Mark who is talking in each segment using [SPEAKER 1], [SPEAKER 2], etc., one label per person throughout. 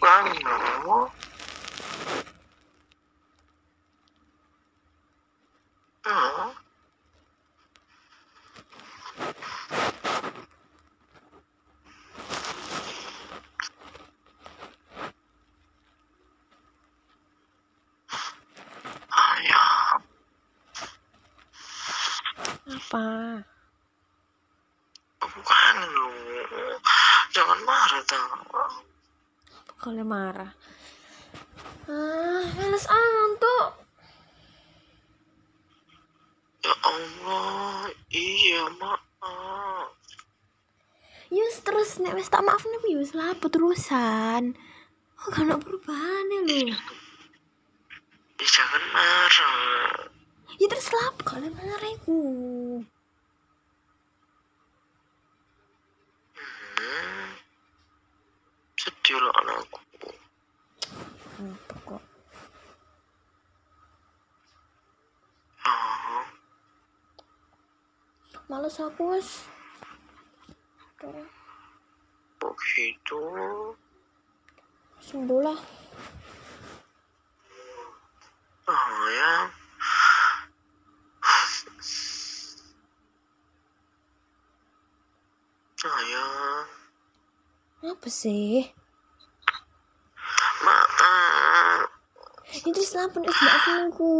[SPEAKER 1] no. No. Ayah,
[SPEAKER 2] Apa?
[SPEAKER 1] bukan lu. Jangan marah tau.
[SPEAKER 2] Kalau marah. Ah, males antuk.
[SPEAKER 1] Ya Allah, iya ờ, maaf.
[SPEAKER 2] Yus terus nek wis tak maafne ku yus lah terusan. Oh, gak ono perubahane lho.
[SPEAKER 1] Ya jangan marah.
[SPEAKER 2] Ya terus lah kalau marah iku.
[SPEAKER 1] Hmm. Sedih lah anakku.
[SPEAKER 2] Apa kok?
[SPEAKER 1] Ah,
[SPEAKER 2] Males aku wis. Terus
[SPEAKER 1] begitu.
[SPEAKER 2] sembuh lah.
[SPEAKER 1] Ah ya. Ah ya.
[SPEAKER 2] Apa sih?
[SPEAKER 1] Maaf.
[SPEAKER 2] Ya terus lah pun wis maafne ku.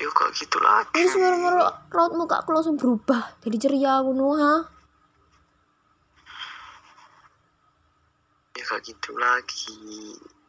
[SPEAKER 1] Yuk kok gitu lagi.
[SPEAKER 2] Terus moro-moro raut muka aku langsung berubah jadi ceria ngono ha.
[SPEAKER 1] Ya kok gitu lagi.